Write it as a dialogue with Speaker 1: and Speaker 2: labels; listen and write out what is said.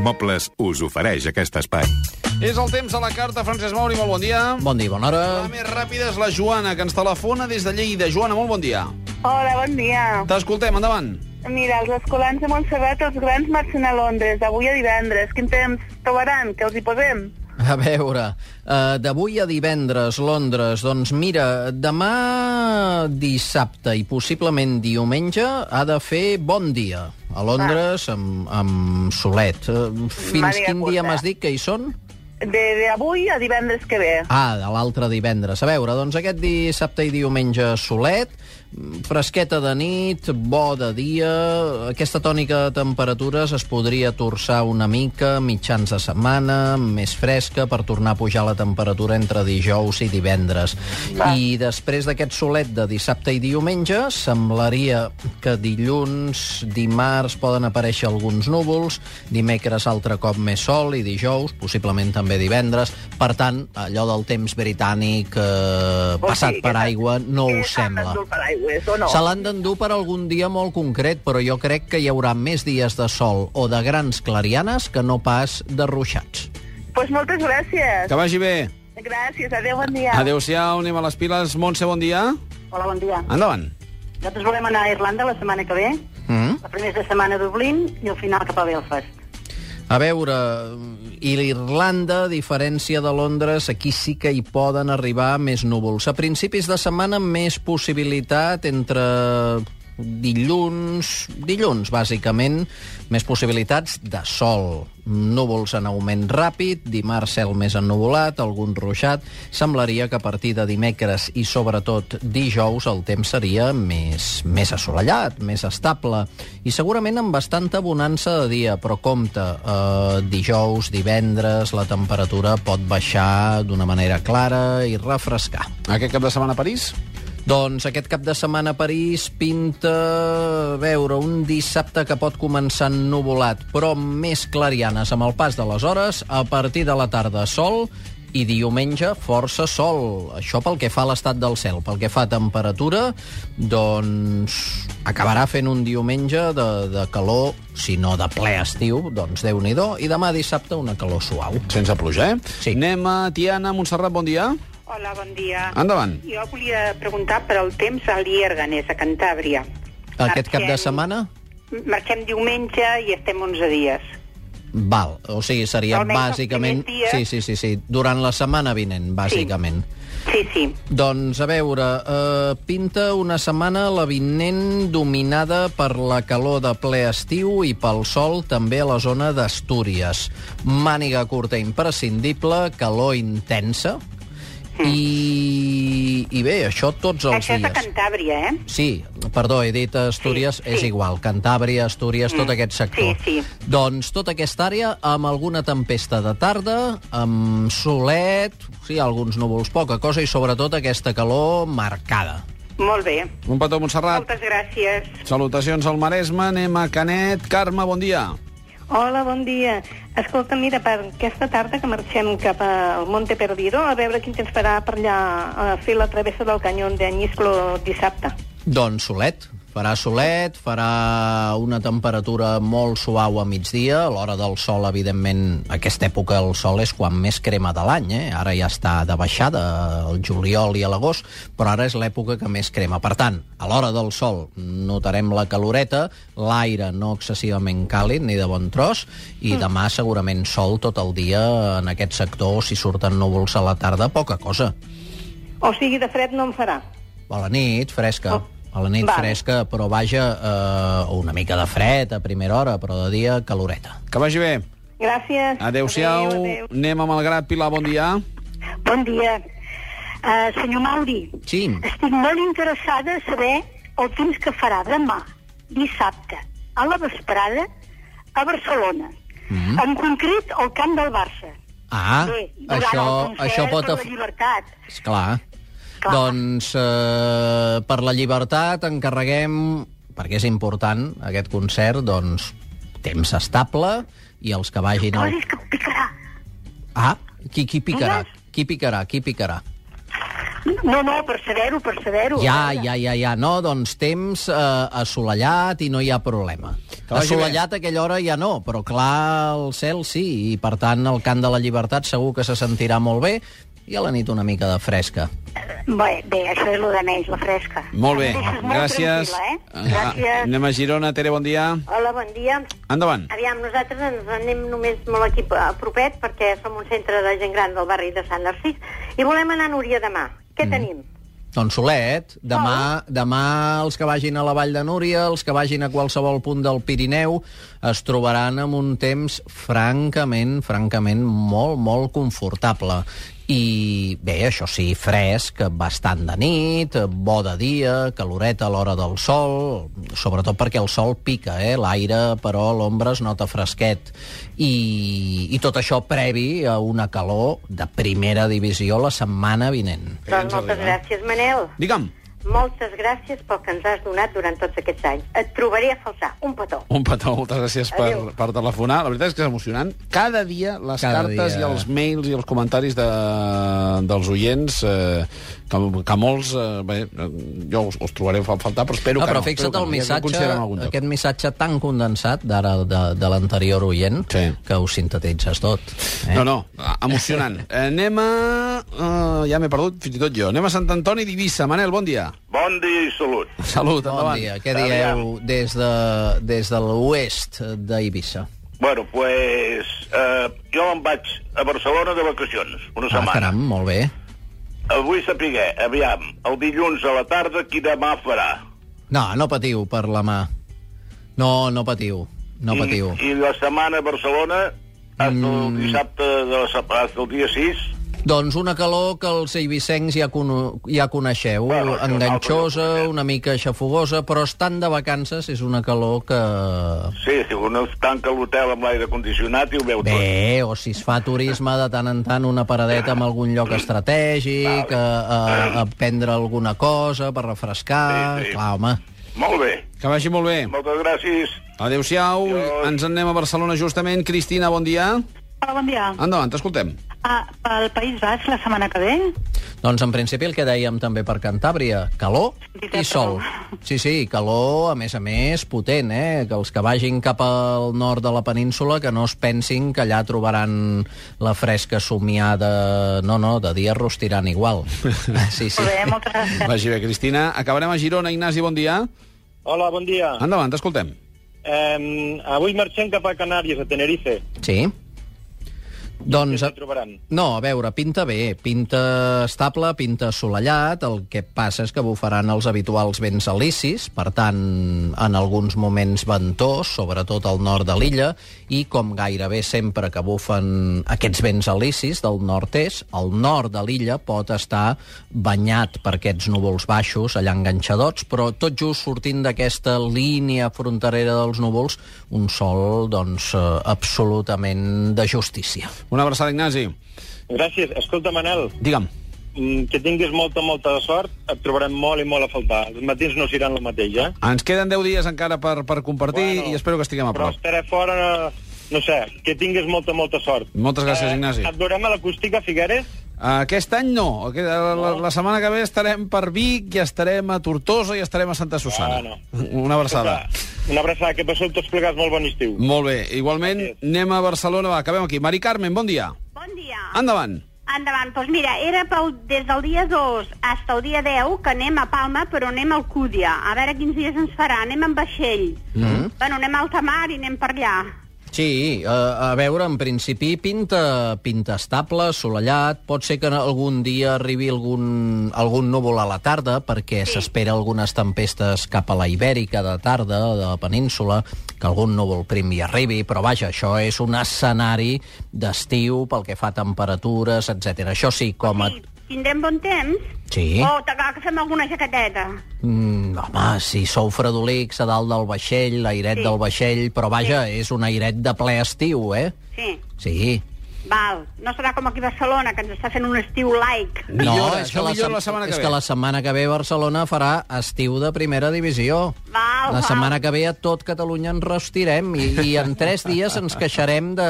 Speaker 1: Mobles us ofereix aquest espai.
Speaker 2: És el temps a la carta, Francesc Mauri, molt bon dia.
Speaker 3: Bon dia, bona hora.
Speaker 2: La més ràpida és la Joana, que ens telefona des de Lleida. Joana, molt bon dia.
Speaker 4: Hola, bon dia.
Speaker 2: T'escoltem, endavant.
Speaker 4: Mira, els escolans de Montserrat, els grans marxen a Londres, d'avui a divendres. Quin temps trobaran? Què els hi posem?
Speaker 3: A veure, eh, d'avui a divendres, Londres, doncs mira, demà dissabte i possiblement diumenge ha de fer bon dia a Londres amb, amb solet. Eh, Fins
Speaker 4: Màniga
Speaker 3: quin dia
Speaker 4: curta.
Speaker 3: m'has dit que hi són?
Speaker 4: De, de avui a divendres que ve.
Speaker 3: Ah, de l'altre divendres. A veure, doncs aquest dissabte i diumenge solet, mm, fresqueta de nit, bo de dia... Aquesta tònica de temperatures es podria torçar una mica mitjans de setmana, més fresca, per tornar a pujar la temperatura entre dijous i divendres. I després d'aquest solet de dissabte i diumenge, semblaria que dilluns, dimarts, poden aparèixer alguns núvols, dimecres altre cop més sol i dijous, possiblement també divendres. Per tant, allò del temps britànic eh,
Speaker 4: Vols
Speaker 3: passat
Speaker 4: dir
Speaker 3: per
Speaker 4: Oh, que-
Speaker 3: aigua no
Speaker 4: que
Speaker 3: ho
Speaker 4: s'han
Speaker 3: sembla.
Speaker 4: d'endur per aigües, o no?
Speaker 3: Se l'han d'endur per algun dia molt concret, però jo crec que hi haurà més dies de sol o de grans clarianes que no pas de ruixats.
Speaker 4: pues moltes gràcies.
Speaker 2: Que vagi bé.
Speaker 4: Gràcies, adeu, bon dia.
Speaker 2: Adéu-siau, anem a les piles. Montse, bon dia.
Speaker 5: Hola, bon dia.
Speaker 2: Endavant.
Speaker 5: Nosaltres volem anar a Irlanda la setmana que ve,
Speaker 3: Mm?
Speaker 5: la primera setmana a Dublín i al final cap a Belfast.
Speaker 3: A veure, i l'Irlanda, a diferència de Londres, aquí sí que hi poden arribar més núvols. A principis de setmana, més possibilitat entre dilluns, dilluns, bàsicament, més possibilitats de sol. Núvols en augment ràpid, dimarts cel més ennuvolat, algun ruixat. Semblaria que a partir de dimecres i sobretot dijous el temps seria més, més assolellat, més estable i segurament amb bastanta bonança de dia, però compte, eh, dijous, divendres, la temperatura pot baixar d'una manera clara i refrescar.
Speaker 2: Aquest cap de setmana a París?
Speaker 3: Doncs aquest cap de setmana a París pinta a veure un dissabte que pot començar ennuvolat, però amb més clarianes amb el pas de les hores, a partir de la tarda sol i diumenge força sol. Això pel que fa a l'estat del cel. Pel que fa a temperatura, doncs acabarà fent un diumenge de, de calor, si no de ple estiu, doncs déu-n'hi-do, i demà dissabte una calor suau.
Speaker 2: Sense pluja, eh?
Speaker 3: Sí.
Speaker 2: Anem a Tiana, Montserrat, bon dia.
Speaker 6: Hola, bon dia.
Speaker 2: Endavant.
Speaker 6: Jo volia preguntar per el temps a Lierganes, a Cantàbria.
Speaker 3: Aquest cap de
Speaker 6: Marxem-
Speaker 3: setmana...
Speaker 6: Marxem diumenge i estem 11 dies.
Speaker 3: Val, o sigui, seria
Speaker 6: Almenys els
Speaker 3: bàsicament...
Speaker 6: primers
Speaker 3: Sí,
Speaker 6: dies.
Speaker 3: sí, sí, sí, durant la setmana vinent, bàsicament. Sí.
Speaker 6: Sí, sí.
Speaker 3: Doncs, a veure, eh, pinta una setmana la vinent dominada per la calor de ple estiu i pel sol també a la zona d'Astúries. Màniga curta imprescindible, calor intensa, i, i bé, això tots els
Speaker 6: Això és a
Speaker 3: dies.
Speaker 6: Cantàbria, eh?
Speaker 3: Sí, perdó, he dit Astúries,
Speaker 6: Sí,
Speaker 3: és
Speaker 6: sí.
Speaker 3: igual, Cantàbria, Astúries, mm. tot aquest sector.
Speaker 6: Sí,
Speaker 3: Doncs tota aquesta àrea amb alguna tempesta de tarda, amb solet, sí, alguns núvols, poca cosa, i sobretot aquesta calor marcada.
Speaker 6: Molt bé.
Speaker 2: Un petó, Montserrat.
Speaker 6: Moltes gràcies.
Speaker 2: Salutacions al Maresme, anem a Canet. Carme, bon dia.
Speaker 7: Hola, bon dia. Escolta, mira, per aquesta tarda que marxem cap al Monte Perdido, a veure quin temps farà per allà a fer la travessa del canyón de Añisclo dissabte.
Speaker 3: Doncs solet. Farà solet, farà una temperatura molt suau a migdia. A l'hora del sol, evidentment, a aquesta època el sol és quan més crema de l'any. Eh? Ara ja està de baixada, el juliol i a l'agost, però ara és l'època que més crema. Per tant, a l'hora del sol notarem la caloreta, l'aire no excessivament càlid ni de bon tros, i demà segurament sol tot el dia en aquest sector. Si surten núvols a la tarda, poca cosa.
Speaker 7: O sigui, de fred no en farà.
Speaker 3: A la nit, fresca.
Speaker 7: Oh.
Speaker 3: A la nit
Speaker 7: Vale.
Speaker 3: fresca, però vaja, eh, una mica de fred a primera hora, però de dia caloreta.
Speaker 2: Que vagi bé.
Speaker 7: Gràcies.
Speaker 2: Adéu-siau.
Speaker 7: Adéu, adéu.
Speaker 2: Anem a Malgrat, Pilar, bon dia.
Speaker 5: Bon dia.
Speaker 7: Eh,
Speaker 5: Uh, senyor Mauri,
Speaker 3: Sí,
Speaker 5: estic molt interessada a saber el temps que farà demà, dissabte, a la vesprada, a Barcelona. Mm. En concret, al camp del Barça.
Speaker 3: Mhm. ah,
Speaker 5: Bé, durant
Speaker 3: això,
Speaker 5: el concert
Speaker 3: això pot...
Speaker 5: per
Speaker 3: af-
Speaker 5: la llibertat.
Speaker 3: Esclar.
Speaker 5: Clar.
Speaker 3: Doncs eh, per la llibertat encarreguem, perquè és important aquest concert, doncs temps estable i els que vagin...
Speaker 5: No.
Speaker 3: Al...
Speaker 5: Vols que picarà?
Speaker 3: Ah, qui, qui picarà? Qui picarà? Qui picarà?
Speaker 5: No, no, per saber-ho, per saber-ho.
Speaker 3: Ja, ja, ja, ja. No, doncs temps eh, assolellat i no hi ha problema.
Speaker 2: vagi
Speaker 3: Assolellat a aquella hora ja no, però clar, el cel sí, i per tant el cant de la llibertat segur que se sentirà molt bé i a la nit una mica de fresca.
Speaker 5: Bé, bé, això és el de menys, la fresca.
Speaker 2: Molt bé,
Speaker 5: Em deixes molt
Speaker 2: gràcies.
Speaker 5: tranquil·la, Eh?
Speaker 2: Ah,
Speaker 5: Gràcies.
Speaker 2: Anem a Girona, Tere, bon dia.
Speaker 8: Hola, bon dia.
Speaker 2: Endavant.
Speaker 8: Aviam, nosaltres ens anem només molt aquí a propet perquè som un centre de gent gran del barri de Sant Narcís i volem anar a Núria demà. Què tenim?
Speaker 3: Doncs solet, demà, demà els que vagin a la Vall de Núria, els que vagin a qualsevol punt del Pirineu, es trobaran amb un temps francament, francament molt, molt confortable. I bé, això sí, fresc, bastant de nit, bo de dia, caloreta a l'hora del sol, sobretot perquè el sol pica, eh? l'aire, però l'ombra es nota fresquet. I, I tot això previ a una calor de primera divisió la setmana vinent.
Speaker 2: Ja ens
Speaker 8: Doncs moltes
Speaker 2: arriba.
Speaker 8: gràcies, Manel.
Speaker 2: Digue'm,
Speaker 8: Moltes gràcies pel que ens has donat durant tots aquests anys. Et trobaré a faltar. Un petó.
Speaker 2: un petó, moltes gràcies per, per telefonar. La veritat és que és emocionant. Cada dia les
Speaker 3: Cada
Speaker 2: cartes
Speaker 3: dia.
Speaker 2: i els mails i els comentaris de, dels oients, eh, que, que molts... Eh, bé, jo us, us trobaré a faltar, però espero
Speaker 3: No,
Speaker 2: que
Speaker 3: però
Speaker 2: no.
Speaker 3: fixa't
Speaker 2: espero que no. Ja
Speaker 3: el
Speaker 2: ho
Speaker 3: missatge,
Speaker 2: considerem algun lloc.
Speaker 3: aquest missatge tan condensat d'ara de, de l'anterior oient,
Speaker 2: Sí.
Speaker 3: que ho sintetitzes tot. Eh?
Speaker 2: No, no, ah, emocionant. Anem a... Uh, ja m'he perdut, fins i tot jo. Anem a Sant Antoni d'Ibissa. Manel, bon dia.
Speaker 9: Bon dia i salut.
Speaker 2: Salut,
Speaker 3: Bon
Speaker 2: endavant.
Speaker 3: dia, què dieu des de, des de l'oest d'Eivissa?
Speaker 9: Bueno, pues, eh, jo em vaig a Barcelona de vacacions, una
Speaker 3: Ah,
Speaker 9: setmana.
Speaker 3: caram, molt bé.
Speaker 9: Avui sapigué, aviam, el dilluns a la tarda quina mà farà.
Speaker 3: No, no patiu per la mà. No, no patiu,
Speaker 2: Mm.
Speaker 3: no patiu. Mm.
Speaker 9: I, I la setmana a Barcelona, fins el dissabte, de la, sep- fins el dia 6,
Speaker 3: Doncs una calor que els eivissencs ja, cono ja coneixeu,
Speaker 9: Bueno,
Speaker 3: bueno,
Speaker 9: això és un altre
Speaker 3: enganxosa,
Speaker 9: lloc, eh?
Speaker 3: una mica xafogosa, però estant de vacances és una calor que
Speaker 9: sí, si un es tanca l'hotel amb l'aire condicionat i ho veu tot.
Speaker 3: Bé, o si es fa turisme de tant en tant una paradeta en algun lloc estratègic, a, a, a prendre alguna cosa per refrescar...
Speaker 9: Sí, sí.
Speaker 3: Clar, home,
Speaker 9: Molt bé,
Speaker 2: Que vagi molt bé.
Speaker 9: moltes gràcies.
Speaker 2: Adéu-siau.
Speaker 9: Adéu.
Speaker 2: Ens en anem a Barcelona, justament. Cristina, bon dia.
Speaker 5: Hola, bon dia.
Speaker 2: Endavant, t'escoltem.
Speaker 5: Ah, pel País Basc la setmana que ve?
Speaker 3: doncs en principi el que dèiem també per Cantàbria, calor i sol. Sí, sí, calor, a més a més, potent, eh? Que els que vagin cap al nord de la península que no es pensin que allà trobaran la fresca somiada... No, no, de dia rostiran igual. Sí, sí.
Speaker 5: Molt bé, moltes gràcies.
Speaker 2: Vagi bé, Cristina. Acabarem a Girona. Ignasi, bon dia.
Speaker 10: Hola, bon dia.
Speaker 2: Endavant, t'escoltem.
Speaker 10: Eh, avui marxem cap a Canàries, a Tenerife.
Speaker 3: Sí. Doncs...
Speaker 10: Què s'hi trobaran?
Speaker 3: No, a veure, pinta bé, pinta estable, pinta assolellat, el que passa és que bufaran els habituals vents alicis, per tant, en alguns moments ventós, sobretot al nord de l'illa, i com gairebé sempre que bufen aquests vents alicis del nord-est, el nord de l'illa pot estar banyat per aquests núvols baixos, allà enganxadots, però tot just sortint d'aquesta línia fronterera dels núvols, un sol, doncs, eh, absolutament de justícia.
Speaker 2: Una abraçada, Ignasi.
Speaker 10: Gràcies. Escolta, Manel,
Speaker 2: Digue'm.
Speaker 10: mm, que tinguis molta, molta sort. Et trobarem molt i molt a faltar. Els matins no seran la mateixa.
Speaker 2: Ens queden 10 dies encara per, per compartir bueno, i espero que estiguem a
Speaker 10: Però
Speaker 2: prop.
Speaker 10: estaré fora... No sé, que tinguis molta, molta sort. Eh,
Speaker 2: Moltes gràcies, Ignasi.
Speaker 10: Et veurem a l'acústica, a Figueres?
Speaker 2: Aquest any no. Aquest- La, la setmana que ve estarem per Vic i estarem a Tortosa i estarem a Santa Susana.
Speaker 10: Bueno.
Speaker 2: Una abraçada.
Speaker 10: Escolta, Una abraçada, que passeu tots plegats molt bon estiu.
Speaker 2: Molt bé. Igualment,
Speaker 10: Gràcies.
Speaker 2: anem a Barcelona. Va, acabem aquí. Mari Carmen, bon dia.
Speaker 8: Bon dia.
Speaker 2: Endavant.
Speaker 8: Endavant. Doncs mira, era pel, des del dia 2 fins al dia 10 que anem a Palma, però anem a Alcúdia. A veure quins dies ens farà. Anem amb vaixell. Mm. Bueno, anem a alta mar i anem per allà.
Speaker 3: Sí, eh, a veure, en principi pinta, pinta estable, assolellat, pot ser que algun dia arribi algun, algun núvol a la tarda, perquè s'espera algunes tempestes cap a la Ibèrica de tarda, de la península, que algun núvol prim hi arribi, però vaja, això és un escenari d'estiu pel que fa a temperatures, etc. Això sí, com a...
Speaker 8: Sí, tindrem bon temps?
Speaker 3: Sí.
Speaker 8: O t'agrada que fem alguna jaqueteta?
Speaker 3: Mm, home, si sou fredolics a dalt del vaixell, l'airet sí.
Speaker 8: Sí.
Speaker 3: del vaixell, però vaja, sí. és un airet de ple estiu, eh?
Speaker 8: Sí.
Speaker 3: Sí.
Speaker 8: Val. No serà com aquí a Barcelona, que ens està fent un estiu laic.
Speaker 2: Millora,
Speaker 3: és
Speaker 2: això
Speaker 3: que la,
Speaker 2: millora
Speaker 3: sem-
Speaker 2: la setmana que
Speaker 3: és
Speaker 2: ve.
Speaker 3: que la setmana que ve Barcelona farà estiu de primera divisió.
Speaker 8: Val,
Speaker 3: la
Speaker 8: val.
Speaker 3: setmana que ve a tot Catalunya ens rostirem i, i en tres dies ens queixarem de